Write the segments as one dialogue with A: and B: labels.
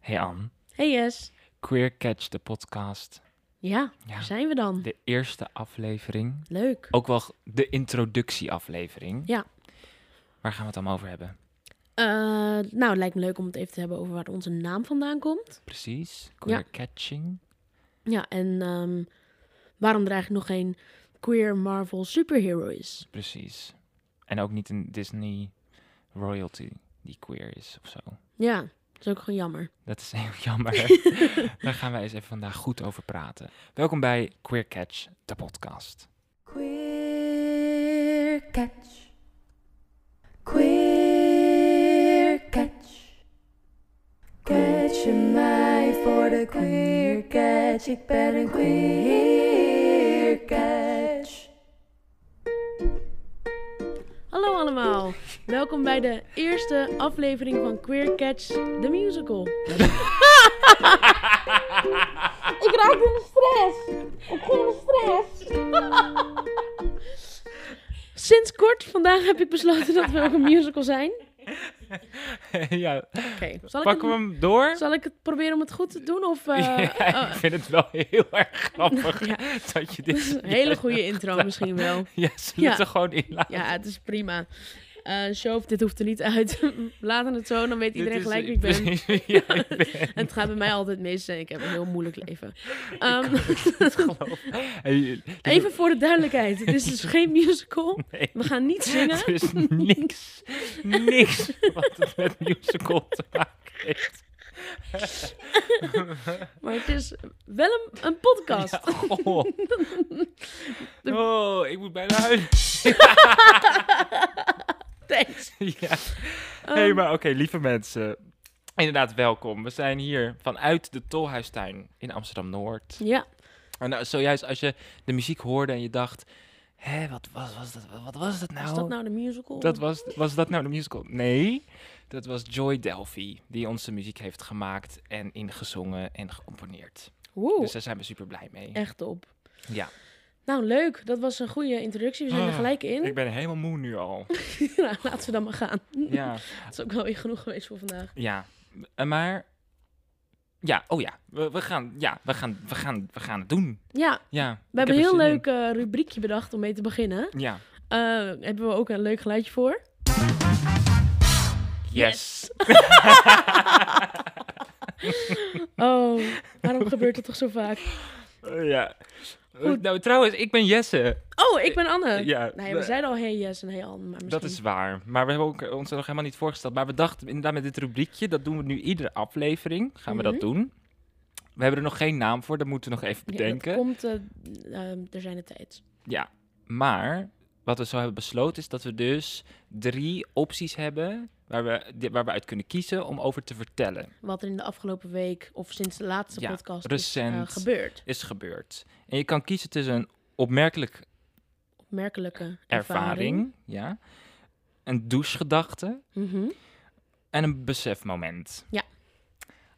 A: Hey Anne,
B: Hey Yes.
A: Queer Catch, de podcast.
B: Ja,
A: Ja.
B: daar zijn we dan.
A: De eerste aflevering.
B: Leuk.
A: Ook wel g- de introductieaflevering.
B: Ja.
A: Waar gaan we het allemaal over hebben?
B: Eh, nou, het lijkt me leuk om het even te hebben over waar onze naam vandaan komt.
A: Precies. Queer Catching.
B: Ja, en ehm, waarom er eigenlijk nog geen queer Marvel superhero is.
A: Precies. En ook niet een Disney royalty die queer is of zo.
B: Ja, dat is ook gewoon jammer.
A: Dat is heel jammer. Daar gaan wij eens even vandaag goed over praten. Welkom bij Queer Catch, de podcast.
C: Queer catch. Queer catch. Catch je mij voor de queer catch. Ik ben een queer catch.
B: Hallo allemaal. Welkom bij de eerste aflevering van Queer Catch the Musical. Ik raak in de stress. Ik ging in de stress. Sinds kort, vandaag heb ik besloten dat we ook een musical zijn.
A: ja,
B: Oké, zal, ik
A: pakken we
B: het-
A: hem door?
B: zal ik het proberen om het goed te doen? Of, eh,
A: ja, ik
B: eh,
A: vind het wel heel erg grappig
B: Ja.
A: dat je
B: dit
A: dit...
B: is een hele goede intro misschien wel.
A: Ja, ze
B: Ja.
A: moeten gewoon in laten.
B: Ja, het is prima. Eh show of dit hoeft er niet uit. Laten het zo, dan weet
A: Dit
B: iedereen
A: is-
B: gelijk wie ik ben.
A: Precies wie jij bent.
B: En het gaat bij mij altijd mis en ik heb een heel moeilijk leven. Ehm,
A: Dat geloof ik. En je- dit is-
B: even voor de duidelijkheid. Het is dus geen musical.
A: Nee.
B: We gaan niet zingen.
A: Er is niks, niks wat het met musical te maken heeft.
B: Maar het is wel een, een podcast.
A: Ja, goh. Oh, ik moet bijna huilen.
B: Thanks.
A: Ja.
B: Ehm,
A: hey, maar oké, lieve mensen. Inderdaad, welkom. We zijn hier vanuit de Tolhuistuin in Amsterdam-Noord.
B: Ja,
A: En nou, zojuist als je de muziek hoorde en je dacht... Hé, wat was, was dat, wat was dat nou?
B: is dat nou de musical?
A: Dat was, was dat nou de musical? Nee, dat was Joy Delphi, die onze muziek heeft gemaakt en ingezongen en gecomponeerd.
B: Woe,
A: Dus daar zijn we super blij mee.
B: echt op.
A: Ja.
B: Nou, leuk. Dat was een goede introductie. We zijn er
A: Ah,
B: gelijk in.
A: Ik ben helemaal moe nu al.
B: nou, laten we dan maar gaan.
A: ja.
B: Dat is ook wel weer genoeg geweest voor vandaag.
A: Ja. Eh, Maar, ja, oh ja, we, we gaan, ja, we gaan, we gaan, we gaan het doen.
B: Ja,
A: Ja. ik
B: we hebben
A: er
B: een heel
A: zin in.
B: leuk eh, rubriekje bedacht om mee te beginnen.
A: Ja.
B: Eh, hebben we ook een leuk geluidje voor?
A: Yes.
B: Oh, waarom gebeurt dat toch zo vaak?
A: Eh, ja. Eh,
B: Goed.
A: Nou, trouwens, ik ben Jesse.
B: Oh, ik ben Anne.
A: ja.
B: Nee, we zeiden al hey yes en hey Anne. Maar
A: Dat
B: misschien...
A: is waar. Maar we hebben ook eh, ons nog helemaal niet voorgesteld. Maar we dachten inderdaad met dit rubriekje, dat doen we nu iedere aflevering. Gaan we dat
B: Mhm.
A: doen? We hebben er nog geen naam voor, dat moeten we nog even
B: Ja,
A: bedenken.
B: dat komt, eh, ehm, er zijn de tijd.
A: Ja, maar wat we zo hebben besloten is dat we dus drie opties hebben waar we, di- waar we uit kunnen kiezen om over te vertellen.
B: Wat er in de afgelopen week of sinds de laatste
A: Ja,
B: podcast is eh,
A: recent.
B: gebeurd.
A: Is gebeurd. En je kan kiezen tussen een opmerkelijk
B: Opmerkelijke ervaring.
A: ervaring, ja, een douchegedachte
B: Mhm.
A: en een besefmoment.
B: Ja.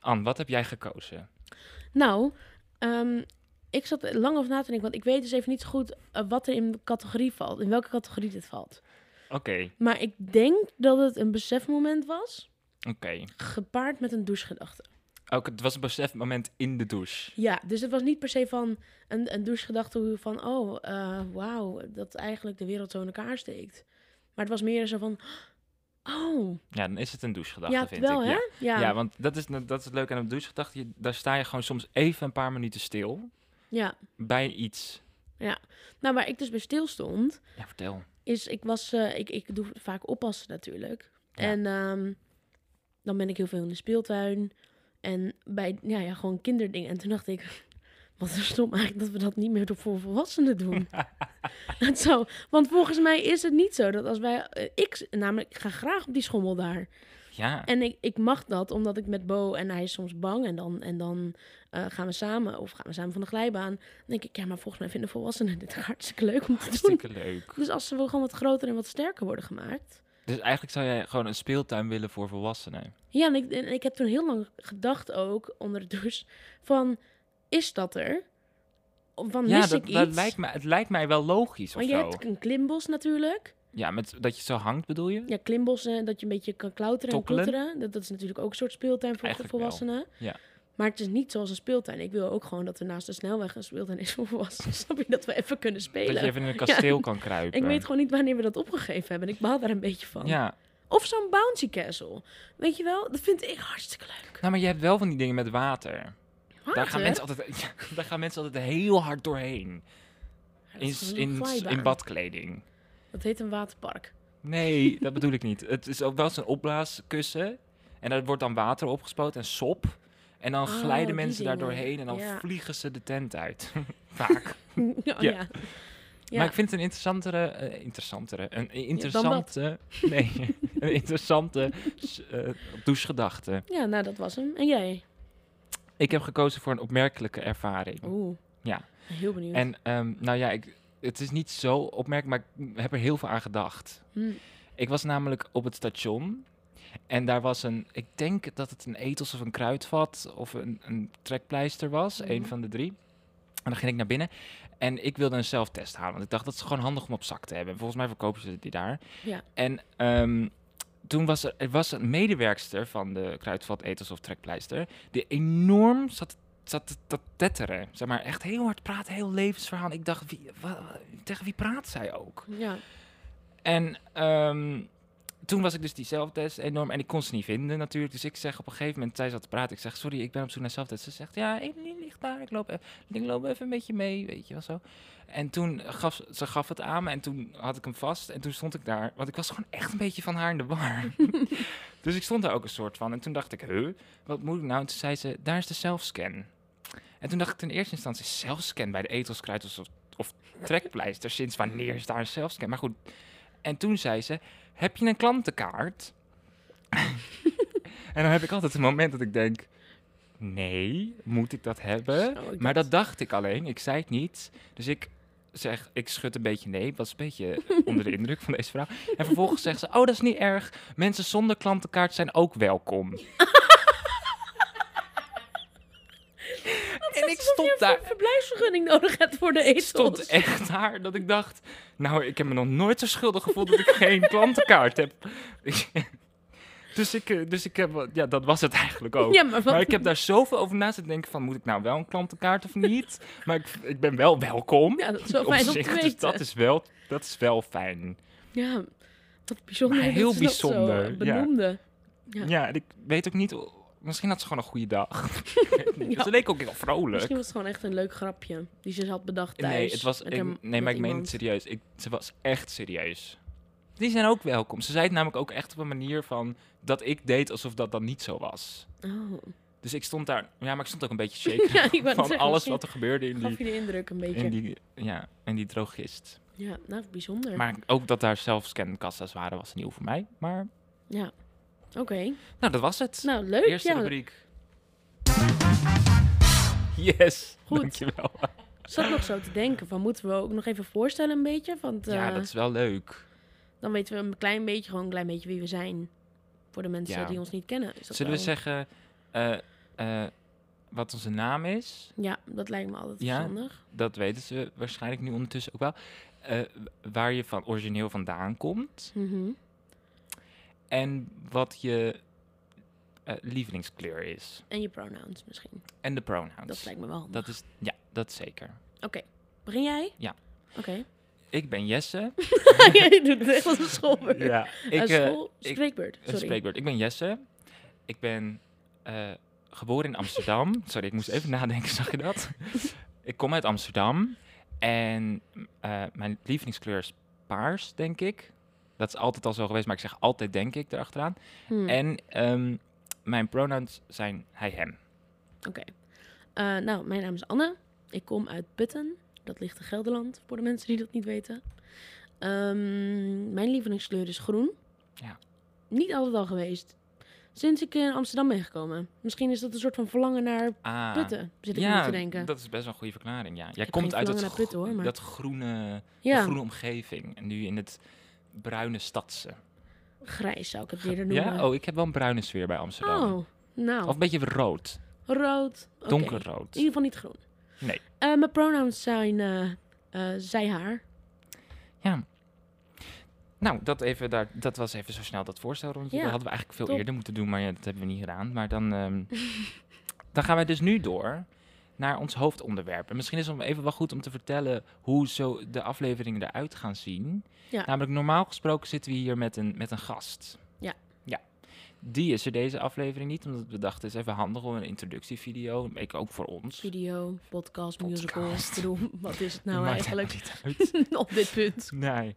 A: Anne, wat heb jij gekozen?
B: Nou, ehm, ik zat lang over na te denken, want ik weet dus even niet zo goed eh, wat er in de categorie valt. In welke categorie dit valt.
A: Oké,
B: Maar ik denk dat het een besefmoment was,
A: oké.
B: gepaard met een douchegedachte.
A: Ook het was een besefmoment in de douche.
B: Ja, dus het was niet per se van een, een douchegedachte hoe van, oh, eh, wauw, dat eigenlijk de wereld zo in elkaar steekt. Maar het was meer zo van, oh,
A: Ja, dan is het een douchegedachte,
B: ja,
A: vind
B: het wel,
A: ik.
B: hè?
A: Ja.
B: Ja,
A: Ja,
B: ja.
A: want dat is, dat is het leuke aan een douchegedachte. Je- Daar sta je gewoon soms even een paar minuten stil. bij iets.
B: Nou, waar ik dus bij stil stond,
A: Ja, vertel.
B: is, ik was, eh, ik, ik doe vaak oppassen natuurlijk.
A: Ja.
B: En ehm, dan ben ik heel veel in de speeltuin en bij, ja, ja, gewoon kinderdingen. En toen dacht ik, wat is stom eigenlijk dat we dat niet meer voor volwassenen doen. Het zou, want volgens mij is het niet zo dat als wij, eh, ik namelijk, ik ga graag op die schommel daar.
A: Ja,
B: En ik, ik mag dat, omdat ik met Bo en hij is soms bang. En dan, en dan eh, gaan we samen, of gaan we samen van de glijbaan. Dan denk ik, ja, maar volgens mij vinden volwassenen dit hartstikke leuk om te doen.
A: hartstikke leuk.
B: Dus als ze wel gewoon wat groter en wat sterker worden gemaakt.
A: Dus eigenlijk zou jij gewoon een speeltuin willen voor volwassenen.
B: Ja, en ik, en ik heb toen heel lang gedacht ook, onder de douche, van, is dat er? Of Van, mis
A: ja, dat,
B: ik
A: dat
B: iets?
A: lijkt me, het lijkt mij wel logisch of
B: Want je
A: zo.
B: hebt een klimbos natuurlijk.
A: Ja, met, dat je zo hangt bedoel je?
B: Ja, klimbossen, dat je een beetje kan klauteren
A: Tokkelen.
B: en klotteren. Dat, dat is natuurlijk ook een soort speeltuin voor
A: Eigenlijk wel,
B: volwassenen.
A: ja.
B: Maar het is niet zoals een speeltuin. Ik wil ook gewoon dat er naast de snelweg een speeltuin is voor volwassenen. Snap je? Dat we even kunnen spelen.
A: Dat je even in een kasteel kan kruipen.
B: Ik weet gewoon niet wanneer we dat opgegeven hebben. En ik baal daar een beetje van.
A: Ja,
B: Of zo'n bouncy castle. Weet je wel? Dat vind ik hartstikke leuk.
A: nou, maar je hebt wel van die dingen met water. Daar gaan,
B: Water?
A: mensen altijd, ja, daar gaan mensen altijd heel hard doorheen.
B: Ja, dat
A: In,
B: is gewoon een
A: in,
B: glijbaan.
A: in badkleding.
B: Dat heet een waterpark.
A: Nee, dat bedoel ik niet. Het is ook wel zo'n opblaaskussen. En daar wordt dan water opgespoten en sop. En dan
B: Oh,
A: glijden
B: die
A: mensen daar
B: dingen.
A: doorheen en dan
B: Ja.
A: vliegen ze de tent uit. Vaak.
B: Oh, ja.
A: Ja.
B: ja.
A: Maar ik vind het een interessantere... eh, interessantere? Een interessante... nee, een interessante s- eh, douchegedachte.
B: Ja, nou dat was hem. En jij?
A: Ik heb gekozen voor een opmerkelijke ervaring.
B: Oeh.
A: Ja.
B: Heel benieuwd.
A: En ehm, nou ja, ik, het is niet zo opmerkelijk, maar ik heb er heel veel aan gedacht.
B: Hm.
A: Ik was namelijk op het station en daar was een, ik denk dat het een etels of een kruidvat of een, een trekpleister was,
B: Mhm.
A: een van de drie. En dan ging ik naar binnen en ik wilde een zelftest halen, want ik dacht dat is gewoon handig om op zak te hebben. Volgens mij verkopen ze die daar.
B: Ja.
A: En ehm, toen was er, er was een medewerkster van de kruidvat etels of trekpleister die enorm zat zat te- te tetteren. Zeg maar, echt heel hard praten, heel levensverhaal. Ik dacht, wie, wa- tegen wie praat zij ook?
B: Ja.
A: En ehm, toen was ik dus die zelftest enorm en ik kon ze niet vinden natuurlijk. Dus ik zeg op een gegeven moment, zij zat te praten. Ik zeg, sorry, ik ben op zoek naar zelftest. Ze zegt, ja, Evelien ligt daar. Ik loop, even, ik loop even een beetje mee, weet je wel zo. En toen gaf ze- ze gaf het aan me en toen had ik hem vast. En toen stond ik daar, want ik was gewoon echt een beetje van haar in de war. dus ik stond daar ook een soort van. En toen dacht ik, huh, wat moet ik nou? En toen zei ze, daar is de zelfscan. En toen dacht ik in eerste instantie, zelfscan bij de etels, kruidels of, of trekpleister. Sinds wanneer is daar een zelfscan? Maar goed, en toen zei ze: Heb je een klantenkaart? en dan heb ik altijd een moment dat ik denk: Nee, moet ik dat hebben?
B: Zo, ik
A: Maar dat dacht ik alleen, ik zei het niet. Dus ik zeg, ik schud een beetje nee. Ik was een beetje onder de indruk van deze vrouw. En vervolgens zegt ze: Oh, dat is niet erg. Mensen zonder klantenkaart zijn ook welkom. en ik stond daar.
B: een verblijfsvergunning nodig hebt voor de etels.
A: stond echt daar dat ik dacht, nou, ik heb me nog nooit zo schuldig gevoeld dat ik geen klantenkaart heb. dus ik, eh, dus ik heb, wel- ja, dat was het eigenlijk ook.
B: Ja, maar, wat,
A: Maar ik heb daar zoveel over na zitten denken van, moet ik nou wel een klantenkaart of niet? Maar ik, ik ben wel welkom.
B: ja, dat is wel fijn om te weten.
A: dus dat is wel, dat is wel fijn.
B: Ja, wat bijzonder.
A: Maar
B: dat
A: heel
B: ze dat zo,
A: bijzonder,
B: eh,
A: ja.
B: benoemde.
A: Ja.
B: Ja.
A: en ik weet ook niet, misschien had ze gewoon een goede dag. Ik weet niet.
B: Ja.
A: Ze leek ook heel vrolijk.
B: Misschien was het gewoon echt een leuk grapje die ze had bedacht thuis.
A: Nee, het was,
B: met
A: ik-
B: hem-
A: nee maar
B: met
A: ik meen
B: iemand.
A: het serieus. Ik, ze was echt serieus. Die zijn ook welkom. Ze zei het namelijk ook echt op een manier van dat ik deed alsof dat dan niet zo was.
B: Oh,
A: Dus ik stond daar, ja, maar ik stond ook een beetje shaken
B: Ja, ik wou net
A: van
B: zeggen,
A: alles
B: misschien
A: wat er gebeurde in
B: gaf
A: die,
B: je de indruk een beetje.
A: in die, ja, in die drogist.
B: Ja, nou, bijzonder.
A: Maar ook dat daar zelfscankassa's waren was nieuw voor mij. Maar
B: Ja, oké.
A: nou, dat was het.
B: Nou, leuk.
A: Eerste
B: ja,
A: rubriek. Yes,
B: Goed.
A: dankjewel.
B: Ik zat nog zo te denken van moeten we ook nog even voorstellen een beetje? Want eh,
A: Ja, dat is wel leuk.
B: dan weten we een klein beetje, gewoon een klein beetje wie we zijn. Voor de mensen
A: Ja.
B: die ons niet kennen. Is dat
A: Zullen we
B: wel-
A: zeggen eh, eh, wat onze naam is?
B: Ja, dat lijkt me altijd
A: Ja.
B: verstandig.
A: dat weten ze waarschijnlijk nu ondertussen ook wel, eh, waar je van origineel vandaan komt
B: Mhm.
A: en wat je eh, lievelingskleur is.
B: En je pronouns misschien.
A: En de pronouns.
B: Dat lijkt me wel handig.
A: Dat is, ja, dat zeker.
B: Oké, begin jij?
A: Ja.
B: Oké.
A: Ik ben Jesse.
B: jij doet het echt als een schoolbeurt.
A: Ik,
B: Een
A: eh,
B: school,
A: ik-
B: spreekbeurt,
A: een
B: sorry.
A: spreekwoord. Ik ben Jesse. Ik ben eh, geboren in Amsterdam. Sorry, ik moest even nadenken, zag je dat? ik kom uit Amsterdam. En eh, mijn lievelingskleur is paars, denk ik. Dat is altijd al zo geweest, maar ik zeg altijd denk ik erachteraan.
B: Hmm,
A: En ehm, mijn pronouns zijn hij, hem.
B: Oké. Eh, nou, mijn naam is Anne. Ik kom uit Putten. Dat ligt in Gelderland, voor de mensen die dat niet weten. Ehm, mijn lievelingskleur is groen.
A: Ja.
B: Niet altijd al geweest. Sinds ik in Amsterdam ben gekomen. Misschien is dat een soort van verlangen naar
A: Ah,
B: Putten, zit eh, ik nu
A: ja,
B: te denken.
A: dat is best wel een goede verklaring, ja. Jij
B: heb
A: komt
B: geen
A: uit dat,
B: verlangen naar Putten,
A: gro-
B: hoor, maar-
A: dat groene, de
B: ja,
A: groene omgeving. En nu in het bruine stadse.
B: grijs zou ik het eerder noemen.
A: Ja? Oh, ik heb wel een bruine sfeer bij Amsterdam.
B: Oh, nou,
A: Of een beetje rood.
B: rood. oké.
A: Donkerrood.
B: In ieder geval niet groen.
A: Nee.
B: Eh, mijn pronouns zijn eh, eh, zij, haar.
A: Ja. Nou, dat, even daar, dat was even zo snel dat voorstelrondje.
B: Ja,
A: dat hadden we eigenlijk veel
B: top.
A: eerder moeten doen, maar ja, dat hebben we niet gedaan. Maar dan, ehm, dan gaan wij dus nu door naar ons hoofdonderwerp. En misschien is het even wel goed om te vertellen hoe zo de afleveringen eruit gaan zien.
B: Ja.
A: Namelijk, normaal gesproken zitten we hier met een, met een gast.
B: Ja.
A: Ja. Die is er deze aflevering niet, omdat we dachten, het is even handig om een introductievideo. Ik ook voor ons.
B: Video, podcast, musical.
A: Podcast.
B: Ik bedoel, wat is het nou
A: Maakt
B: eigenlijk
A: helemaal niet uit.
B: op dit punt?
A: Nee,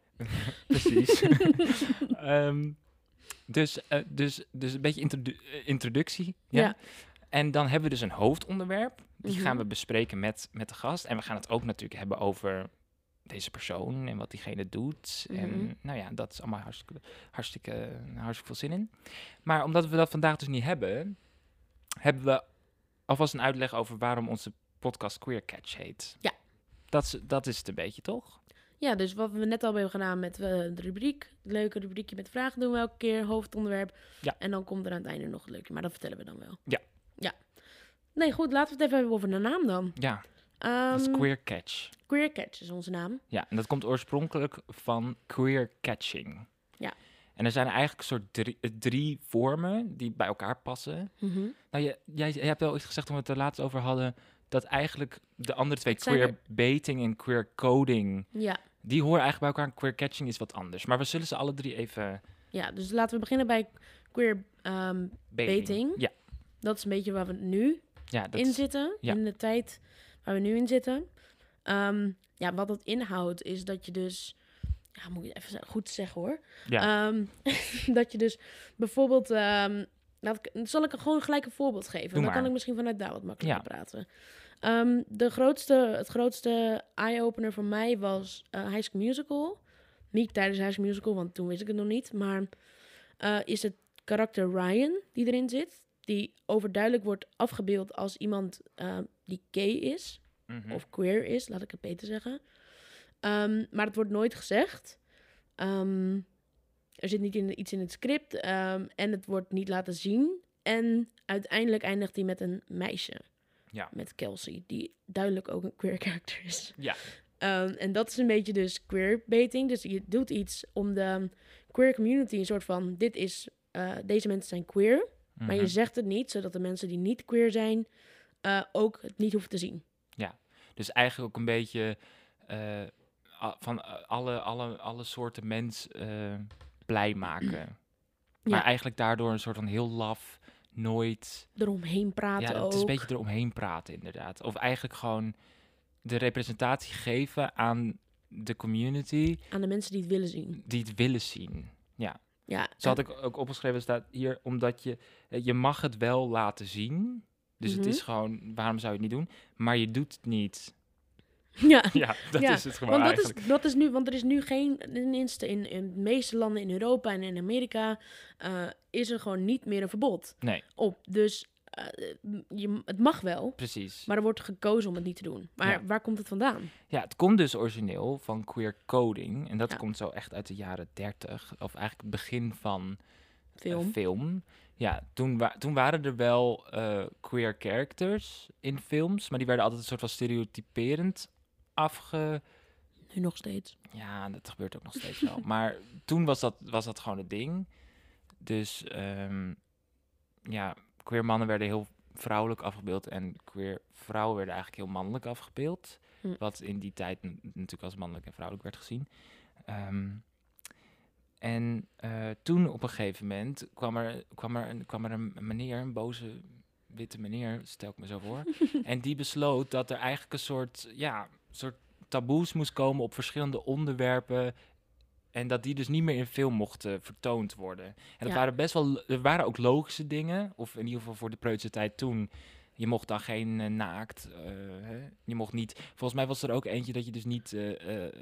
A: precies. Ehm, dus, eh, dus, dus een beetje introdu- eh, introductie. Ja?
B: Ja.
A: En dan hebben we dus een hoofdonderwerp. Die
B: Mhm.
A: gaan we bespreken met, met de gast. En we gaan het ook natuurlijk hebben over deze persoon en wat diegene doet.
B: Mhm.
A: En nou ja, dat is allemaal hartstikke, hartstikke, eh, hartstikke veel zin in. Maar omdat we dat vandaag dus niet hebben, hebben we alvast een uitleg over waarom onze podcast Queer Catch heet.
B: Ja.
A: Dat is, dat is het een beetje, toch?
B: Ja, dus wat we net al hebben gedaan met eh, de rubriek. Het leuke rubriekje met vragen doen we elke keer, hoofdonderwerp.
A: Ja.
B: En dan komt er aan het einde nog het leuke, maar dat vertellen we dan wel.
A: Ja.
B: Ja. Nee, goed, laten we het even hebben over de naam dan.
A: Ja.
B: Ehm
A: Dat is queer catch.
B: Queer Catch is onze naam.
A: Ja, en dat komt oorspronkelijk van queer catching.
B: Ja.
A: En er zijn eigenlijk soort drie, eh, drie vormen die bij elkaar passen.
B: Mhm.
A: Nou, je- jij, jij hebt wel iets gezegd toen we het er laatst over hadden... dat eigenlijk de andere twee,
B: Zijn
A: queer baiting en queer coding...
B: Ja.
A: die horen eigenlijk bij elkaar en queer catching is wat anders. Maar we zullen ze alle drie even...
B: ja, dus laten we beginnen bij queer ehm,
A: Baiting?
B: Baiting?
A: Ja,
B: Dat is een beetje waar we nu
A: ja dat
B: in
A: is-
B: zitten.
A: ja.
B: In de tijd waar we nu in zitten. Ehm, ja, wat dat inhoudt is dat je dus... Ja, moet ik het even goed zeggen hoor.
A: ja.
B: Ehm, dat je dus bijvoorbeeld... ehm, laat ik, zal ik er gewoon gelijk een voorbeeld geven?
A: Doe
B: Dan
A: maar.
B: kan ik misschien vanuit daar wat makkelijker
A: Ja.
B: praten. Ehm, de grootste, het grootste eye-opener voor mij was eh High School Musical. Niet tijdens High School Musical, want toen wist ik het nog niet. Maar eh, is het karakter Ryan die erin zit. Die overduidelijk wordt afgebeeld als iemand eh, die gay is
A: Mhm.
B: Eh, of queer is, laat ik het beter zeggen. Ehm, maar het wordt nooit gezegd. Ehm, er zit niet in, iets in het script ehm, en het wordt niet laten zien. En uiteindelijk eindigt hij met een meisje.
A: Ja.
B: Met Kelsey, die duidelijk ook een queer character is.
A: Ja.
B: Ehm, en dat is een beetje dus queer baiting. Dus je doet iets om de queer community een soort van... Dit is, eh, deze mensen zijn queer, maar je
A: Mhm.
B: zegt het niet... zodat de mensen die niet queer zijn eh, ook het niet hoeven te zien.
A: Dus eigenlijk ook een beetje eh, a- van eh, alle, alle, alle soorten mens eh, blij maken. Maar
B: Ja.
A: eigenlijk daardoor een soort van heel laf, nooit.
B: eromheen praten
A: ja,
B: ook.
A: het is een beetje eromheen praten, inderdaad. Of eigenlijk gewoon de representatie geven aan de community
B: Aan de mensen die het willen zien.
A: die het willen zien.
B: Ja,
A: Zo had ik ook opgeschreven, staat hier, omdat je, eh, je mag het wel laten zien. Dus
B: Mhm.
A: het is gewoon, waarom zou je het niet doen? Maar je doet het niet.
B: ja.
A: Ja, dat
B: Ja,
A: is het gewoon
B: Want dat
A: eigenlijk.
B: is, dat is nu, want er is nu geen, tenminste in, in de meeste landen in Europa en in Amerika, eh, is er gewoon niet meer een verbod
A: Nee,
B: op. Dus eh, je, het mag wel,
A: precies.
B: maar er wordt gekozen om het niet te doen. Maar
A: Ja.
B: waar komt het vandaan?
A: Ja, het komt dus origineel van queer coding. En dat
B: Ja.
A: komt zo echt uit de jaren 30. Of eigenlijk het begin van eh,
B: Film.
A: film. Ja, toen, wa- toen waren er wel eh, queer characters in films. Maar die werden altijd een soort van stereotyperend afge...
B: nu nog steeds.
A: Ja, dat gebeurt ook nog steeds wel. Maar toen was dat, was dat gewoon het ding. Dus ehm, ja, queer mannen werden heel vrouwelijk afgebeeld en queer vrouwen werden eigenlijk heel mannelijk afgebeeld.
B: Hm.
A: Wat in die tijd n- natuurlijk als mannelijk en vrouwelijk werd gezien. Ehm, en eh, toen op een gegeven moment kwam er, kwam er, een, kwam er een meneer, een boze witte meneer, stel ik me zo voor. en die besloot dat er eigenlijk een soort, ja, soort taboes moest komen op verschillende onderwerpen. En dat die dus niet meer in film mochten vertoond worden. En dat
B: Ja.
A: waren best wel, er waren ook logische dingen. Of in ieder geval voor de preutse tijd toen. Je mocht dan geen eh, naakt. eh, hè? Je mocht niet. Volgens mij was er ook eentje dat je dus niet eh, eh,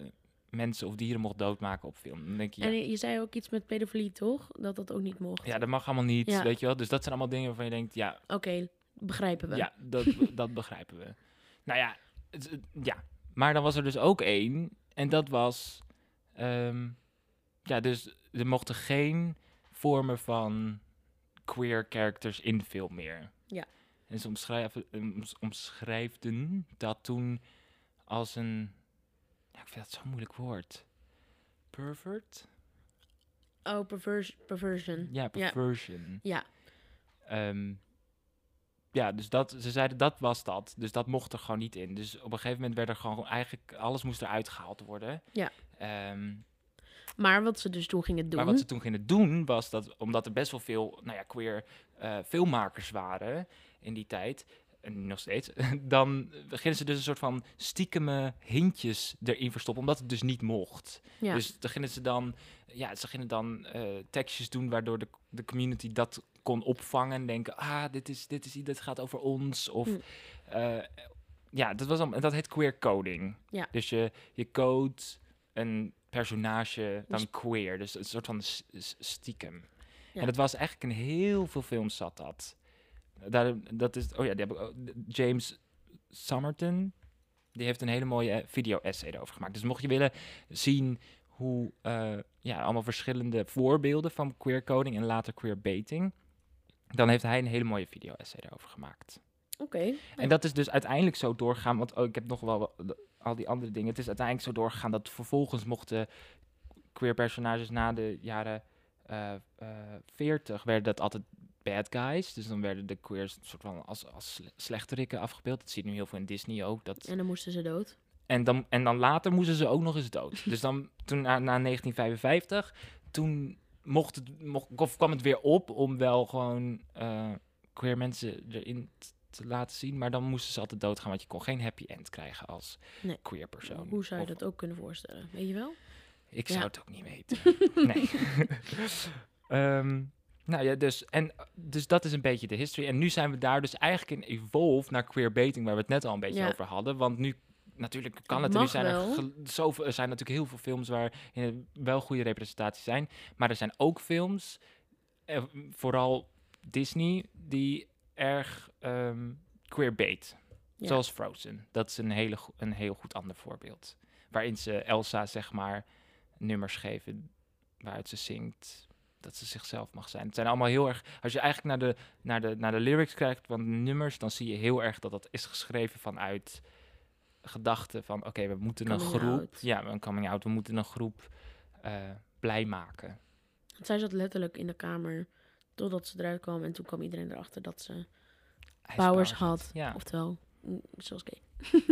A: mensen of dieren mocht doodmaken op film. Dan denk je, ja,
B: En eh, je, je zei ook iets met pedofilie, toch? Dat dat ook niet mocht.
A: ja, dat mag allemaal niet.
B: Ja.
A: Weet je wel? Dus dat zijn allemaal dingen waarvan je denkt, ja,
B: Oké, begrijpen we.
A: ja dat, dat begrijpen we. Nou ja, het- het- ja, maar dan was er dus ook één. En dat was. ehm, ja, dus er mochten geen vormen van queer characters in film meer.
B: Ja.
A: En ze omschrijven, oms- omschrijfden dat toen als een. Ja, ik vind dat zo'n moeilijk woord. Pervert?
B: Oh, pervers perversion.
A: Ja, perversion.
B: Ja.
A: Ehm, ja, dus dat, ze zeiden dat was dat. Dus dat mocht er gewoon niet in. Dus op een gegeven moment werd er gewoon eigenlijk alles moest eruit gehaald worden.
B: Ja.
A: Ehm,
B: Maar wat ze dus toen gingen doen...
A: Maar wat ze toen gingen doen was dat, omdat er best wel veel nou ja, queer eh, filmmakers waren in die tijd, en nog steeds, dan gingen ze dus een soort van stiekeme hintjes erin verstoppen, omdat het dus niet mocht.
B: ja.
A: Dus dan gingen ze dan, ja, ze gingen dan eh, tekstjes doen waardoor de, de community dat kon opvangen en denken, ah, dit is, dit is, dit gaat over ons. Of,
B: Hm.
A: eh, ja, dat was allemaal, en dat heet queer coding.
B: Ja.
A: Dus je, je code een personage dan
B: Dus-
A: queer, dus een soort van s- s- stiekem.
B: Ja.
A: En dat was eigenlijk in heel veel films zat dat. Daar, dat is, oh ja, die heb ik ook- James Somerton, die heeft een hele mooie eh, video-essay erover gemaakt. Dus mocht je willen zien hoe eh, ja, allemaal verschillende voorbeelden van queer coding en later queer baiting, dan heeft hij een hele mooie video-essay erover gemaakt.
B: Oké.
A: En dat is dus uiteindelijk zo doorgegaan, want oh, ik heb nog wel wat- de- al die andere dingen. Het is uiteindelijk zo doorgegaan dat vervolgens mochten queer personages na de jaren eh, eh, 40 werden dat altijd bad guys. Dus dan werden de queers een soort van als, als sle- slechterikken afgebeeld. Dat zie je nu heel veel in Disney ook. Dat
B: En dan moesten ze dood.
A: en dan, en dan later moesten ze ook nog eens dood. Dus dan, toen na, na 1955, toen mocht het, mocht, of kwam het weer op om wel gewoon eh, queer mensen erin t- te laten zien. Maar dan moesten ze altijd doodgaan, want je kon geen happy end krijgen als
B: Nee.
A: queer persoon.
B: Hoe zou je
A: Of-
B: dat ook kunnen voorstellen? Weet je wel?
A: Ik
B: Ja.
A: zou het ook niet weten. nee. Ehm, nou ja, dus, en, dus dat is een beetje de history. En nu zijn we daar dus eigenlijk in evolved naar queer baiting, waar we het net al een beetje
B: Ja.
A: over hadden. Want nu, natuurlijk kan het.
B: Het
A: En nu
B: mag
A: zijn er,
B: wel.
A: gel- zoveel, er zijn natuurlijk heel veel films waar eh, wel goede representaties zijn. Maar er zijn ook films, eh, vooral Disney, die erg ehm queer bait.
B: Ja.
A: Zoals Frozen. Dat is een, hele, go- een heel goed ander voorbeeld. Waarin ze Elsa, zeg maar, nummers geven waaruit ze zingt dat ze zichzelf mag zijn. Het zijn allemaal heel erg... Als je eigenlijk naar de, naar de, naar de lyrics kijkt van de nummers... dan zie je heel erg dat dat is geschreven vanuit gedachten van... oké, we moeten een
B: Coming
A: groep...
B: out.
A: Ja, een coming out. We moeten een groep eh, blij maken.
B: Want zij zat letterlijk in de kamer totdat ze eruit kwam. En toen kwam iedereen erachter dat ze
A: Hij is
B: powers had.
A: Ja.
B: Oftewel, mm, zoals gay.
A: Nou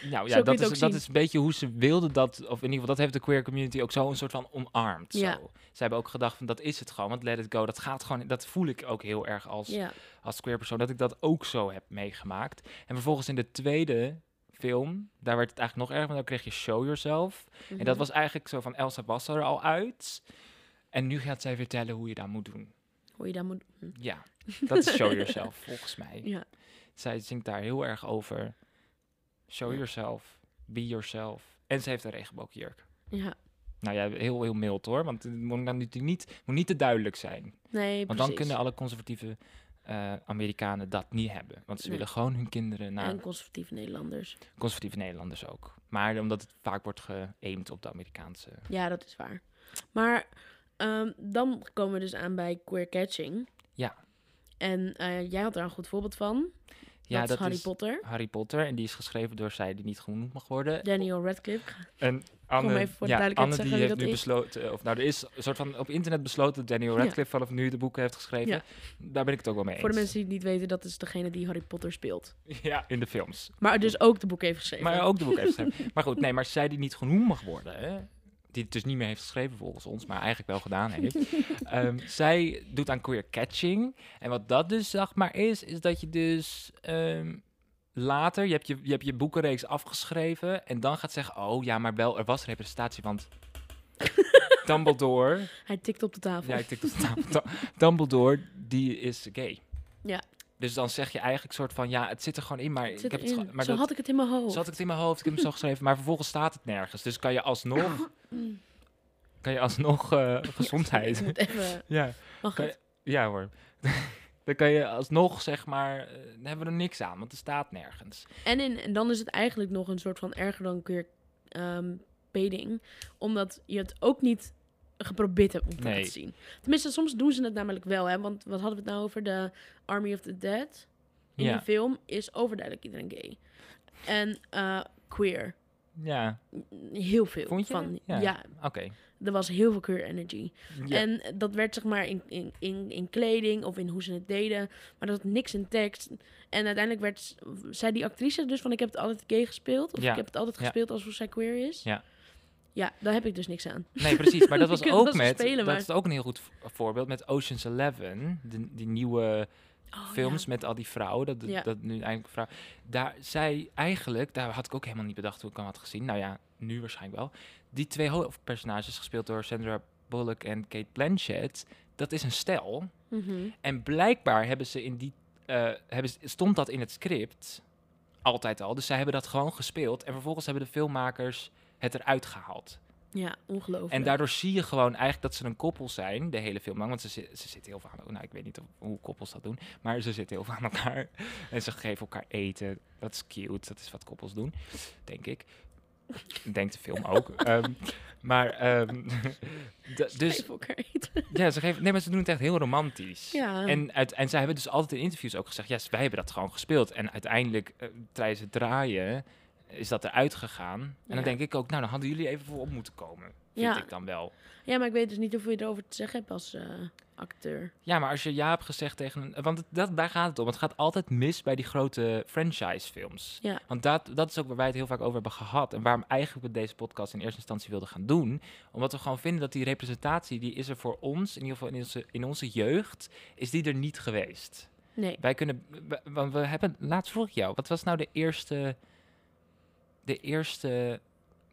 B: Zo
A: ja,
B: kun je
A: dat
B: het
A: is,
B: ook
A: dat
B: zien.
A: is een beetje hoe ze wilden dat, of in ieder geval, dat heeft de queer community ook zo een soort van omarmd.
B: Ja.
A: Zo. Ze hebben ook gedacht van, dat is het gewoon, want let it go, dat gaat gewoon, dat voel ik ook heel erg als,
B: Ja,
A: als queer persoon, dat ik dat ook zo heb meegemaakt. En vervolgens in de tweede film, daar werd het eigenlijk nog erger, want dan kreeg je Show Yourself. En dat
B: mhm.
A: was eigenlijk zo van, Elsa was er al uit, en nu gaat zij vertellen hoe je dat moet doen.
B: Hoe je dat moet... hm.
A: Ja, dat is Show Yourself, volgens mij.
B: Ja.
A: Zij zingt daar heel erg over. Show
B: Ja.
A: yourself, be yourself. En ze heeft een regenboogjurk.
B: ja.
A: Nou ja, heel, heel mild hoor, want het moet, dan natuurlijk niet, moet niet te duidelijk zijn. Want
B: Nee, precies.
A: dan kunnen alle conservatieve eh, Amerikanen dat niet hebben. Want ze
B: Nee.
A: willen gewoon hun kinderen naar
B: En conservatieve Nederlanders.
A: conservatieve Nederlanders ook. Maar omdat het vaak wordt geëimd op de Amerikaanse...
B: Ja, dat is waar. Maar ehm, dan komen we dus aan bij queer catching.
A: Ja.
B: En eh, jij had daar een goed voorbeeld van.
A: Ja,
B: dat, is Harry Potter.
A: Harry Potter. En die is geschreven door zij die niet genoemd mag worden.
B: Daniel Radcliffe.
A: En Anne,
B: even voor de
A: ja,
B: duidelijkheid
A: Anne
B: zeggen
A: die
B: wie
A: heeft
B: dat
A: nu
B: is.
A: besloten, of nou er is een soort van op internet besloten dat Daniel
B: Ja.
A: Radcliffe vanaf nu de boeken heeft geschreven.
B: Ja.
A: Daar ben ik het ook wel mee eens.
B: Voor de mensen die het niet weten, dat is degene die Harry Potter speelt.
A: Ja, in de films.
B: Maar dus ook de boek heeft geschreven.
A: Maar ook de boeken heeft geschreven. Maar goed, nee, maar zij die niet genoemd mag worden, hè, die het dus niet meer heeft geschreven volgens ons, maar eigenlijk wel gedaan heeft. ehm, zij doet aan queer catching. En wat dat dus zeg maar is, is dat je dus ehm, later, je hebt je, je hebt je boekenreeks afgeschreven en dan gaat zeggen, oh ja, maar wel, er was representatie, want... Dumbledore,
B: Hij tikt op de tafel.
A: Ja, ik tik dat nou. Da- Dumbledore, die is gay.
B: Ja.
A: Dus dan zeg je eigenlijk soort van, ja, het zit er gewoon in, maar
B: Het
A: ik
B: zit
A: heb het
B: erin.
A: gewoon- maar
B: Zo
A: dat,
B: had ik het in mijn hoofd.
A: zo had ik het in mijn hoofd, ik heb het zo geschreven, maar vervolgens staat het nergens. Dus kan je alsnog,
B: Oh.
A: kan je alsnog eh,
B: Ik
A: gezondheid.
B: moet even...
A: Ja,
B: Mag
A: Kan
B: het?
A: ja hoor. Dan kan je alsnog, zeg maar, eh, dan hebben we er niks aan, want het staat nergens.
B: En, in, en dan is het eigenlijk nog een soort van erger dan queer ehm peding. Omdat je het ook niet geprobeerd hebt om te
A: Nee.
B: laten zien. Tenminste, soms doen ze het namelijk wel. Hè? Want wat hadden we het nou over? De Army of the Dead. In
A: Ja.
B: die film is overduidelijk iedereen gay. En eh, queer.
A: Ja,
B: Heel veel
A: Vond je?
B: van.
A: Ja.
B: Ja.
A: oké.
B: er was heel veel queer energy.
A: Ja.
B: En dat werd zeg maar in, in, in, in kleding of in hoe ze het deden. Maar dat had niks in tekst. En uiteindelijk werd, zei die actrice dus van ik heb het altijd gay gespeeld. Of
A: Ja.
B: ik heb het altijd
A: Ja.
B: gespeeld als hoe zij queer is.
A: Ja.
B: Ja, daar heb ik dus niks aan.
A: Nee, precies. Maar dat was
B: Je kunt
A: ook
B: wel zo
A: met.
B: spelen,
A: dat
B: maar-
A: is ook een heel goed vo- voorbeeld met Ocean's Eleven. De, die nieuwe
B: Oh,
A: films
B: ja.
A: met al die vrouwen. Dat,
B: Ja.
A: dat nu eigenlijk vrouw. Daar zij eigenlijk, daar had ik ook helemaal niet bedacht hoe ik hem had gezien. Nou ja, nu waarschijnlijk wel. Die twee hoofdpersonages, gespeeld door Sandra Bullock en Kate Blanchett, dat is een stel.
B: Mhm.
A: En blijkbaar hebben ze in die. eh, hebben, ze- stond dat in het script altijd al. Dus zij hebben dat gewoon gespeeld. En vervolgens hebben de filmmakers het eruit gehaald.
B: Ja, ongelooflijk.
A: En daardoor zie je gewoon eigenlijk dat ze een koppel zijn de hele film lang. Want ze, zi- ze zitten heel veel aan elkaar. Nou, ik weet niet of- hoe koppels dat doen. Maar ze zitten heel veel aan elkaar. En ze geven elkaar eten. Dat is cute. Dat is wat koppels doen, denk ik. Denkt de film ook. Ehm, maar, ehm, da- dus
B: Even elkaar eten.
A: ja, ze geven. Nee, maar ze doen het echt heel romantisch.
B: Ja.
A: En, uit, en zij hebben dus altijd in interviews ook gezegd: ja, wij hebben dat gewoon gespeeld. En uiteindelijk, eh, tijdens het draaien, is dat eruit gegaan. En dan
B: Ja.
A: denk ik ook, nou, dan hadden jullie even voor op moeten komen. Vind
B: Ja.
A: ik dan wel.
B: ja, maar ik weet dus niet hoeveel je erover te zeggen hebt als eh, acteur.
A: Ja, maar als je ja hebt gezegd tegen een... Want het- dat, daar gaat het om. Het gaat altijd mis bij die grote franchise-films.
B: Ja.
A: Want dat, dat is ook waar wij het heel vaak over hebben gehad. En waarom eigenlijk we deze podcast in eerste instantie wilden gaan doen. Omdat we gewoon vinden dat die representatie... die is er voor ons, in ieder geval in onze, in onze jeugd... is die er niet geweest.
B: Nee.
A: Wij kunnen... w- Want we hebben... Laatst vroeg ik jou. Wat was nou de eerste... De eerste...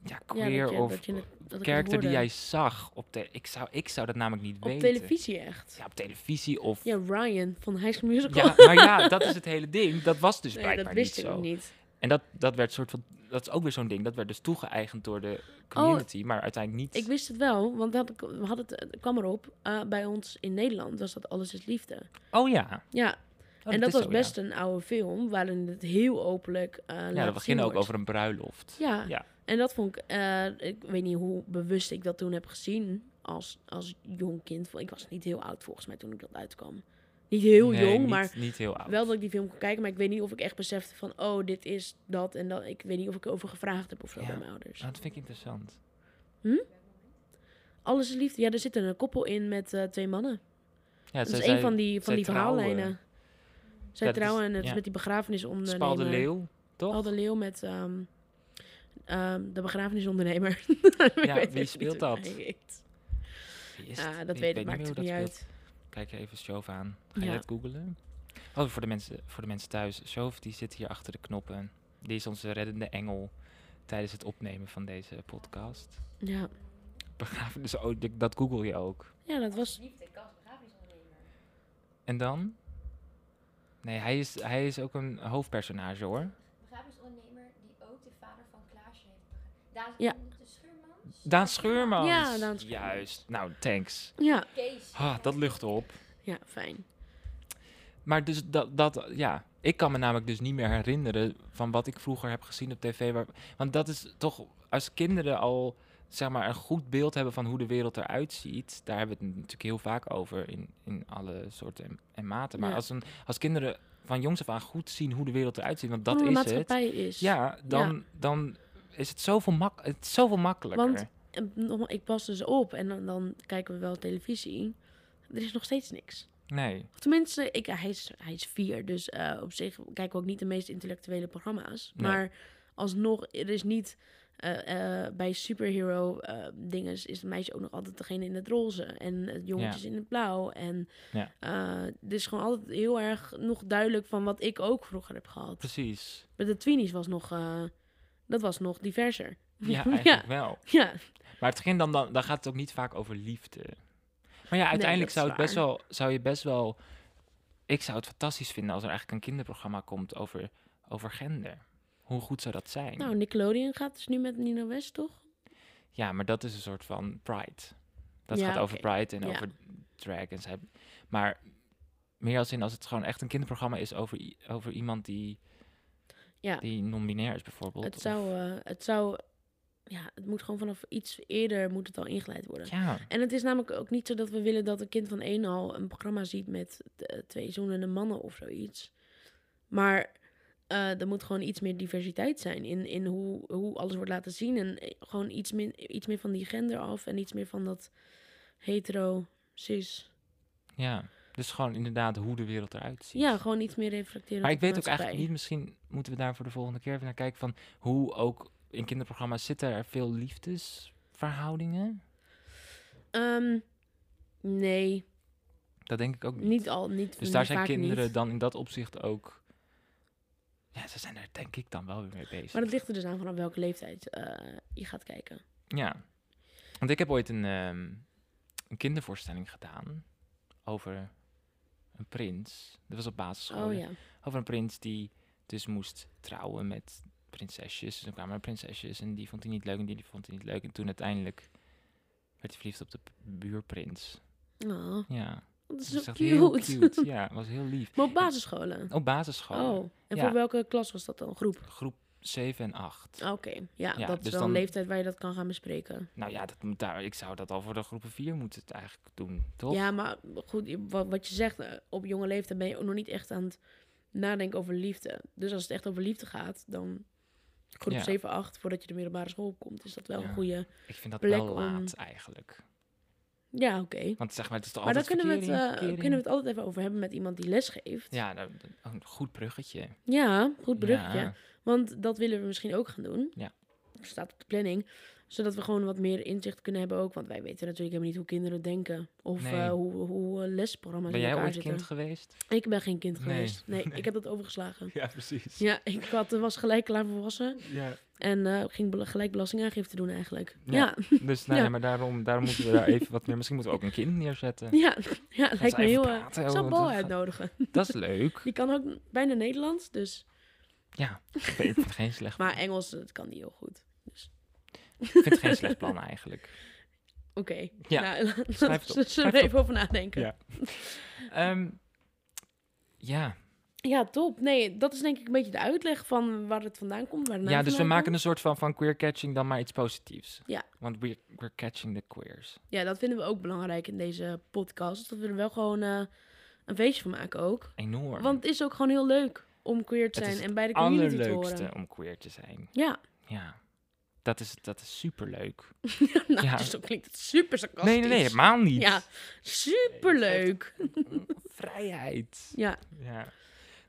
A: Ja,
B: Ja,
A: queer
B: dat je-
A: of
B: dat je het- dat ik het
A: character die
B: hoorde.
A: jij zag op de... Ik zou, ik zou dat namelijk niet
B: Op
A: weten.
B: televisie echt.
A: Ja, op televisie of...
B: Ja, Ryan van High School Musical.
A: Ja, nou ja, dat is het hele ding. Dat was dus
B: nee,
A: blijkbaar
B: dat wist
A: niet
B: ik
A: zo.
B: ook niet.
A: En dat, dat werd soort van, dat is ook weer zo'n ding. Dat werd dus toegeëigend door de community, maar uiteindelijk niet.
B: Oh, Ik wist het wel, want dat, we hadden het, het kwam erop. eh, bij ons in Nederland was dat Alles is Liefde.
A: oh ja.
B: Ja,
A: Oh,
B: en dat
A: is
B: was
A: zo,
B: best een oude film, waarin het heel openlijk eh
A: Ja, ja
B: laten
A: dat beginnen
B: zien
A: ook
B: wordt.
A: over een bruiloft.
B: Ja.
A: Ja.
B: en dat vond ik, eh, ik weet niet hoe bewust ik dat toen heb gezien als, als jong kind. Ik was niet heel oud volgens mij toen ik dat uitkwam. Niet heel
A: Nee,
B: jong,
A: niet-
B: maar
A: Niet heel oud.
B: wel dat ik die film kon kijken. Maar ik weet niet of ik echt besefte van, oh, dit is dat en dat. Ik weet niet of ik erover gevraagd heb of zo
A: Ja.
B: bij mijn ouders.
A: Oh, dat vind ik interessant.
B: Alles is liefde. Ja, er zit een koppel in met eh, twee mannen.
A: Ja,
B: Dat is een van die, van
A: zij
B: die
A: trouwen.
B: verhaallijnen. Zij
A: Ja, dat is-
B: trouwen en het is
A: ja.
B: met die begrafenis ondernemer.
A: Spal de Leeuw, toch?
B: Paul de Leeuw met ehm, ehm, de begrafenisondernemer.
A: Ja, wie speelt dat? Wie is het?
B: Ja, Ah, dat weet
A: meer
B: ik, maakt
A: hoe
B: het niet
A: dat
B: uit.
A: speelt. Kijk even Shove aan. Ga je
B: Ja.
A: dat googelen? Oh, voor de mensen, voor de mensen thuis. Shove die zit hier achter de knoppen. Die is onze reddende engel tijdens het opnemen van deze podcast.
B: Ja.
A: Begrafenis, oh, d- dat google je ook.
B: ja, dat was...
A: En dan? Nee, hij is, hij is ook een hoofdpersonage hoor.
D: begrafenisondernemer die ook de vader van Klaasje heeft begraven. Daan
B: Ja.
D: de Schuurmans.
A: Daan Schuurmans.
B: Ja, Daan Schuurmans.
A: Juist. Nou, thanks.
B: Ja,
D: Kees.
A: Ah, dat lucht op.
B: ja fijn.
A: Maar dus dat, dat, ja. Ik kan me namelijk dus niet meer herinneren van wat ik vroeger heb gezien op tv. Waar, want dat is toch, als kinderen al zeg maar een goed beeld hebben van hoe de wereld eruit ziet. Daar hebben we het natuurlijk heel vaak over in, in alle soorten en, en maten. Maar
B: Ja.
A: als, een, als kinderen van jongs af aan goed zien hoe de wereld eruit ziet, want dat
B: Hoe de
A: is het.
B: maatschappij is.
A: Ja, dan, dan is het zoveel, mak het is zoveel makkelijker.
B: Want- En nogmaals, ik pas dus op en dan, dan kijken we wel televisie. Er is nog steeds niks.
A: nee.
B: Of Tenminste, ik, hij, is, hij is vier, dus eh, op zich kijken we ook niet de meest intellectuele programma's.
A: Nee.
B: Maar alsnog, er is niet... eh, eh, bij superhero eh dingen is het meisje ook nog altijd degene in het roze. En het jongetje is in het blauw. En
A: Ja.
B: eh, het is gewoon altijd heel erg nog duidelijk van wat ik ook vroeger heb gehad.
A: Precies.
B: Maar de Tweenies was nog... eh, dat was nog diverser.
A: Ja, eigenlijk wel.
B: Ja,
A: Maar het ging dan, dan, dan gaat het ook niet vaak over liefde. Maar ja,
B: dat
A: uiteindelijk
B: is
A: zou, het best
B: waar.
A: wel, zou je best wel... Ik zou het fantastisch vinden als er eigenlijk een kinderprogramma komt over, over gender. Hoe goed zou dat zijn?
B: nou Nickelodeon gaat dus nu met Nino West, toch?
A: Ja, maar dat is een soort van pride. Dat
B: Ja,
A: gaat over
B: oké.
A: pride en
B: Ja.
A: over drag. En zij, maar meer als in als het gewoon echt een kinderprogramma is over, i- over iemand die,
B: Ja.
A: die non-binair is bijvoorbeeld.
B: Het
A: of-
B: zou, eh, het zou... Ja, het moet gewoon vanaf iets eerder moet het al ingeleid worden.
A: Ja,
B: En het is namelijk ook niet zo dat we willen dat een kind van één al een programma ziet met eh, twee zoenende mannen of zoiets. Maar eh, er moet gewoon iets meer diversiteit zijn in, in hoe, hoe alles wordt laten zien. En eh, gewoon iets, min, iets meer van die gender af en iets meer van dat hetero, cis.
A: Ja, dus gewoon inderdaad hoe de wereld eruit ziet.
B: Ja, gewoon iets meer reflecteren.
A: Maar
B: op
A: ik
B: de
A: weet ook eigenlijk
B: maatschappij.
A: niet, misschien moeten we daar voor de volgende keer even naar kijken van hoe ook in kinderprogramma's zitten er veel liefdesverhoudingen.
B: Ehm, nee,
A: Dat denk ik ook niet.
B: niet al. Niet,
A: dus daar zijn
B: vaak
A: kinderen
B: niet.
A: dan in dat opzicht ook. Ja, ze zijn er denk ik dan wel weer mee bezig.
B: Maar dat ligt er dus aan vanaf welke leeftijd eh, je gaat kijken.
A: Ja. Want ik heb ooit een, ehm, een kindervoorstelling gedaan over een prins. Dat was op basisschool.
B: Oh
A: ja.
B: ja.
A: Over een prins die dus moest trouwen met prinsesjes. Dus dan kwamen er prinsesjes en die vond hij niet leuk en die vond hij niet leuk. En toen uiteindelijk werd hij verliefd op de p- buurprins.
B: Oh,
A: Ja,
B: dat is
A: dat
B: zo
A: is echt
B: cute.
A: heel cute. Ja, was heel lief.
B: Maar op basisscholen?
A: Op basisschool,
B: Oh, en
A: Ja.
B: voor welke klas was dat dan? Groep? Ah,
A: groep 7 en 8.
B: Oké, ja,
A: Ja,
B: dat is
A: dus
B: wel
A: dan-
B: een leeftijd waar je dat kan gaan bespreken.
A: Nou ja, dat moet daar, ik zou dat al voor de groepen 4 moeten het eigenlijk doen, toch?
B: Ja, maar goed, je- wat, wat je zegt, eh, op jonge leeftijd ben je ook nog niet echt aan het nadenken over liefde. Dus als het echt over liefde gaat, dan groep
A: Ja.
B: 7, 8, voordat je de middelbare school opkomt, is dat wel
A: Ja.
B: een goede...
A: Ik vind dat
B: plek
A: wel
B: om-
A: laat eigenlijk.
B: Ja, oké.
A: Want zeg maar, het is toch
B: Maar dan
A: altijd
B: kunnen we, het,
A: verkering,
B: eh,
A: verkering.
B: kunnen we het altijd even over hebben met iemand die lesgeeft.
A: Ja, dat- dat- een goed bruggetje.
B: Ja, goed bruggetje.
A: Ja.
B: Want dat willen we misschien ook gaan doen.
A: Ja.
B: Staat op de planning. Zodat we gewoon wat meer inzicht kunnen hebben ook. Want wij weten natuurlijk helemaal niet hoe kinderen denken. Of
A: Nee.
B: eh, hoe, hoe eh, lesprogramma's
A: Ben
B: in
A: jij
B: elkaar
A: ooit
B: zitten.
A: kind geweest?
B: Ik ben geen kind
A: Nee.
B: geweest. Nee,
A: Nee.
B: ik heb dat overgeslagen.
A: Ja, precies.
B: Ja, ik had, was gelijk klaar volwassen.
A: Ja.
B: En eh, ging bela- gelijk belastingaangifte doen eigenlijk.
A: Ja.
B: Ja,
A: Dus nou ja,
B: Ja.
A: maar daarom, daarom moeten we daar even wat meer... Misschien moeten we ook een kind neerzetten.
B: ja, ja,
A: Als
B: lijkt
A: we even
B: me heel... eh,
A: praten,
B: Ik
A: joh,
B: zou
A: want
B: Bal
A: dat-
B: uitnodigen.
A: Dat is leuk.
B: Die kan ook bijna Nederlands, dus...
A: Ja, ik vind- ik vind het geen slecht,
B: Maar Engels, dat kan die heel goed.
A: ik vind het geen slecht plan eigenlijk.
B: Oké.
A: Ja,
B: Nou, laten
A: schrijf het op.
B: we
A: Schrijf
B: er
A: het
B: even over nadenken.
A: Ja. Ehm, ja.
B: Ja, top. Nee, dat is denk ik een beetje de uitleg van waar het vandaan komt. Waar de naam
A: ja, dus we
B: vandaan
A: maken
B: komt.
A: een soort van, van queer catching dan maar iets positiefs.
B: Ja.
A: Want we're, we're catching the queers.
B: Ja, dat vinden we ook belangrijk in deze podcast. Dus Dat we er wel gewoon eh, een feestje van maken ook.
A: Enorm.
B: Want het is ook gewoon heel leuk om queer te
A: Het is het
B: zijn en bij de community te
A: allerleukste
B: horen.
A: om queer te zijn.
B: Ja,
A: Ja. Dat is, dat is superleuk.
B: nou,
A: Ja.
B: dus dat klinkt het super sarcastisch.
A: Nee, nee, nee, helemaal niet.
B: Ja, superleuk.
A: Vrijheid.
B: Ja,
A: Ja.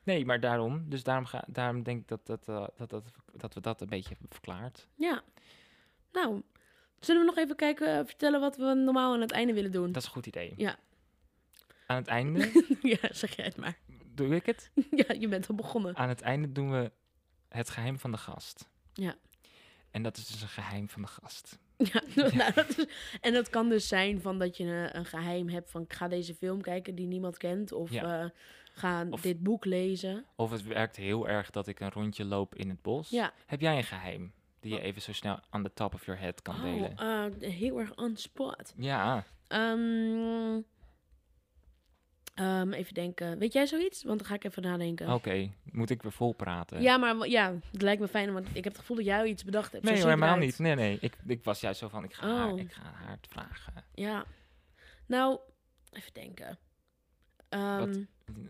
A: Nee, maar daarom. Dus daarom, ga, daarom denk ik dat, dat, eh, dat, dat, dat we dat een beetje hebben verklaard.
B: ja. Nou, zullen we nog even kijken, eh, vertellen wat we normaal aan het einde willen doen?
A: Dat is een goed idee.
B: Hm. Ja.
A: Aan het einde
B: ja, zeg jij het maar.
A: doe ik het.
B: ja, je bent al begonnen.
A: Aan het einde doen we het geheim van de gast.
B: Ja.
A: En dat is dus een geheim van de gast.
B: Ja, nou, dat is- en dat kan dus zijn van dat je een, een geheim hebt van ik ga deze film kijken die niemand kent of
A: Ja.
B: eh, ga
A: Of-
B: dit boek lezen.
A: Of het werkt heel erg dat ik een rondje loop in het bos.
B: Ja.
A: Heb jij een geheim die je even zo snel aan de top of your head kan
B: Oh,
A: delen?
B: eh, heel erg on spot.
A: Ja.
B: Ehm, ehm, even denken. Weet jij zoiets? Want dan ga ik even nadenken.
A: Oké, moet ik weer vol praten?
B: Ja, maar w- ja, het lijkt me fijn, want ik heb het gevoel dat jij iets bedacht hebt. Zo
A: Nee, hoor,
B: ziet het
A: helemaal
B: eruit.
A: niet. Nee, nee. Ik, ik was juist zo van, ik ga, haar,
B: Oh.
A: ik ga haar het vragen.
B: Ja. Nou, even denken. Ehm,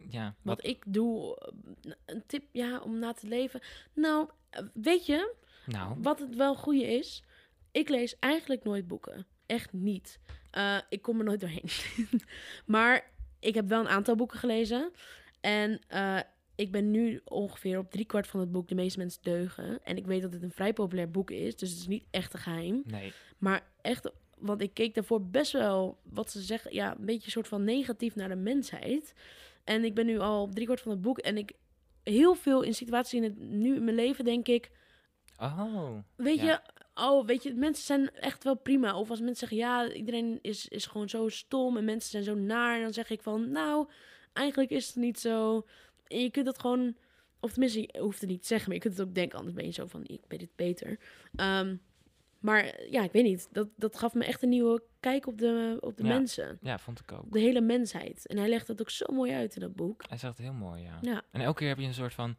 A: Ja,
B: Wat,
A: wat?
B: ik doe, eh, n- een tip ja, om na te leven. Nou, eh, weet je,
A: Nou,
B: wat het wel goede is? Ik lees eigenlijk nooit boeken. Echt niet. Eh, ik kom er nooit doorheen. maar ik heb wel een aantal boeken gelezen. En eh, ik ben nu ongeveer op driekwart van het boek De meeste mensen deugen. En ik weet dat het een vrij populair boek is. Dus het is niet echt een geheim.
A: nee.
B: Maar echt, want ik keek daarvoor best wel, wat ze zeggen, ja, een beetje een soort van negatief naar de mensheid. En ik ben nu al op driekwart van het boek en ik heel veel in situaties in het nu in mijn leven denk ik,
A: Oh,
B: weet
A: Ja.
B: je, oh, weet je, mensen zijn echt wel prima. Of als mensen zeggen, ja, iedereen is, is gewoon zo stom en mensen zijn zo naar, en dan zeg ik van, nou, eigenlijk is het niet zo. En je kunt dat gewoon, of tenminste, je hoeft het niet te zeggen, maar je kunt het ook denken, anders ben je zo van, ik weet het beter. Ehm, maar eh, ja, ik weet niet, dat, dat gaf me echt een nieuwe kijk op de, op de
A: Ja.
B: mensen.
A: ja, vond ik ook.
B: Op de hele mensheid. En hij legt dat ook zo mooi uit in dat boek.
A: Hij zegt het heel mooi, ja.
B: Ja.
A: En elke keer heb je een soort van,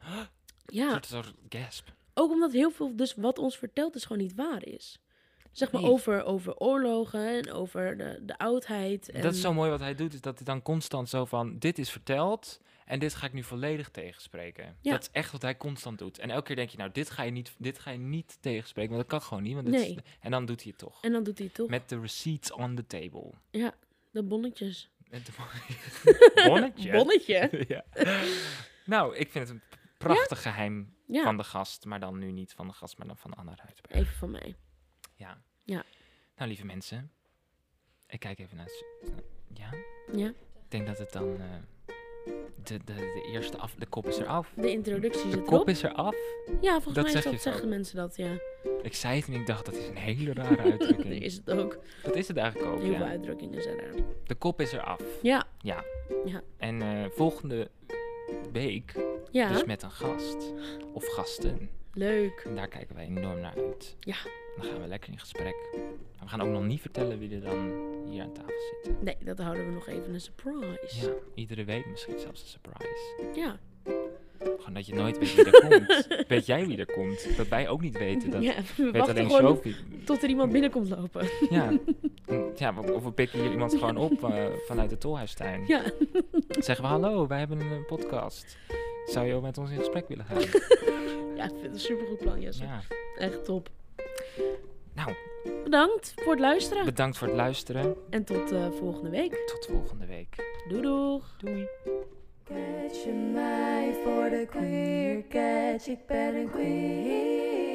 B: Ja.
A: soort, soort gasp.
B: Ook omdat heel veel dus wat ons verteld is gewoon niet waar is. Zeg maar
A: Nee.
B: over, over oorlogen en over de, de oudheid. En
A: Dat is zo mooi wat hij doet, is dat hij dan constant zo van, dit is verteld. En dit ga ik nu volledig tegenspreken.
B: Ja.
A: Dat is echt wat hij constant doet. En elke keer denk je, nou, dit ga je niet, dit ga je niet tegenspreken, want dat kan gewoon niet. Want dit is-
B: Nee.
A: en dan doet hij het toch.
B: En dan doet hij het toch.
A: Met de receipts on the table.
B: Ja, de bonnetjes.
A: En toen- Bonnetje.
B: Bonnetje?
A: ja. Nou, ik vind het een prachtig geheim
B: Ja,
A: van de gast. Maar dan nu niet van de gast, maar dan van Anna Ruidberg.
B: even van mij.
A: Ja.
B: Ja.
A: Nou, lieve mensen. Ik kijk even naar... het- Ja?
B: Ja,
A: Ik denk dat het dan... eh, de, de, de eerste af... De kop is eraf.
B: de introductie
A: De
B: zit
A: kop
B: erop.
A: is eraf.
B: Ja, volgens
A: dat
B: mij is
A: zeg je
B: dat,
A: zo.
B: zeggen mensen dat, ja.
A: Ik zei het en ik dacht, dat is een hele rare uitdrukking.
B: is het ook.
A: Dat is het eigenlijk ook,
B: Heel veel
A: ja.
B: uitdrukkingen zijn er.
A: De kop is eraf.
B: Ja,
A: Ja.
B: Ja.
A: En eh, volgende week,
B: ja.
A: dus met een gast. Of gasten.
B: Leuk.
A: En daar kijken wij enorm naar uit.
B: Ja.
A: Dan gaan we lekker in gesprek. Maar we gaan ook nog niet vertellen wie er dan hier aan tafel zitten.
B: Nee, dat houden we nog even een surprise.
A: Ja, iedere week misschien zelfs een surprise.
B: Ja.
A: Gewoon dat je nooit weet wie er komt. Weet jij wie er komt? Dat wij ook niet weten.
B: Ja,
A: Dat
B: we
A: weet
B: wachten
A: alleen
B: gewoon
A: Sophie.
B: tot er iemand binnenkomt lopen.
A: Ja. ja, of we pikken hier iemand gewoon op eh, vanuit de Tolhuistuin.
B: Ja,
A: Zeggen we hallo, wij hebben een eh, podcast. Zou je ook met ons in gesprek willen gaan?
B: ja ik vind het een supergoed plan, Jesse.
A: Ja.
B: Echt top.
A: Nou,
B: Bedankt voor het luisteren.
A: bedankt voor het luisteren.
B: En tot eh, volgende week.
A: Tot volgende week.
B: Doei doeg.
A: Doei.
C: Catch je mij voor de queer catch, ik ben een queer